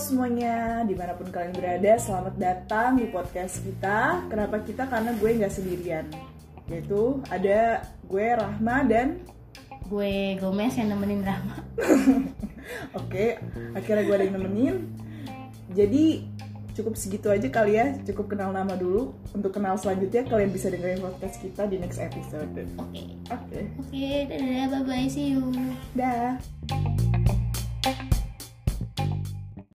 semuanya, dimanapun kalian berada, selamat datang di podcast kita. Kenapa kita? Karena gue nggak sendirian. Yaitu ada gue Rahma dan gue Gomez yang nemenin Rama Oke, akhirnya gue ada yang nemenin. Jadi cukup segitu aja kali ya, cukup kenal nama dulu. Untuk kenal selanjutnya kalian bisa dengerin podcast kita di next episode. Oke, oke oke dadah bye bye see you dah.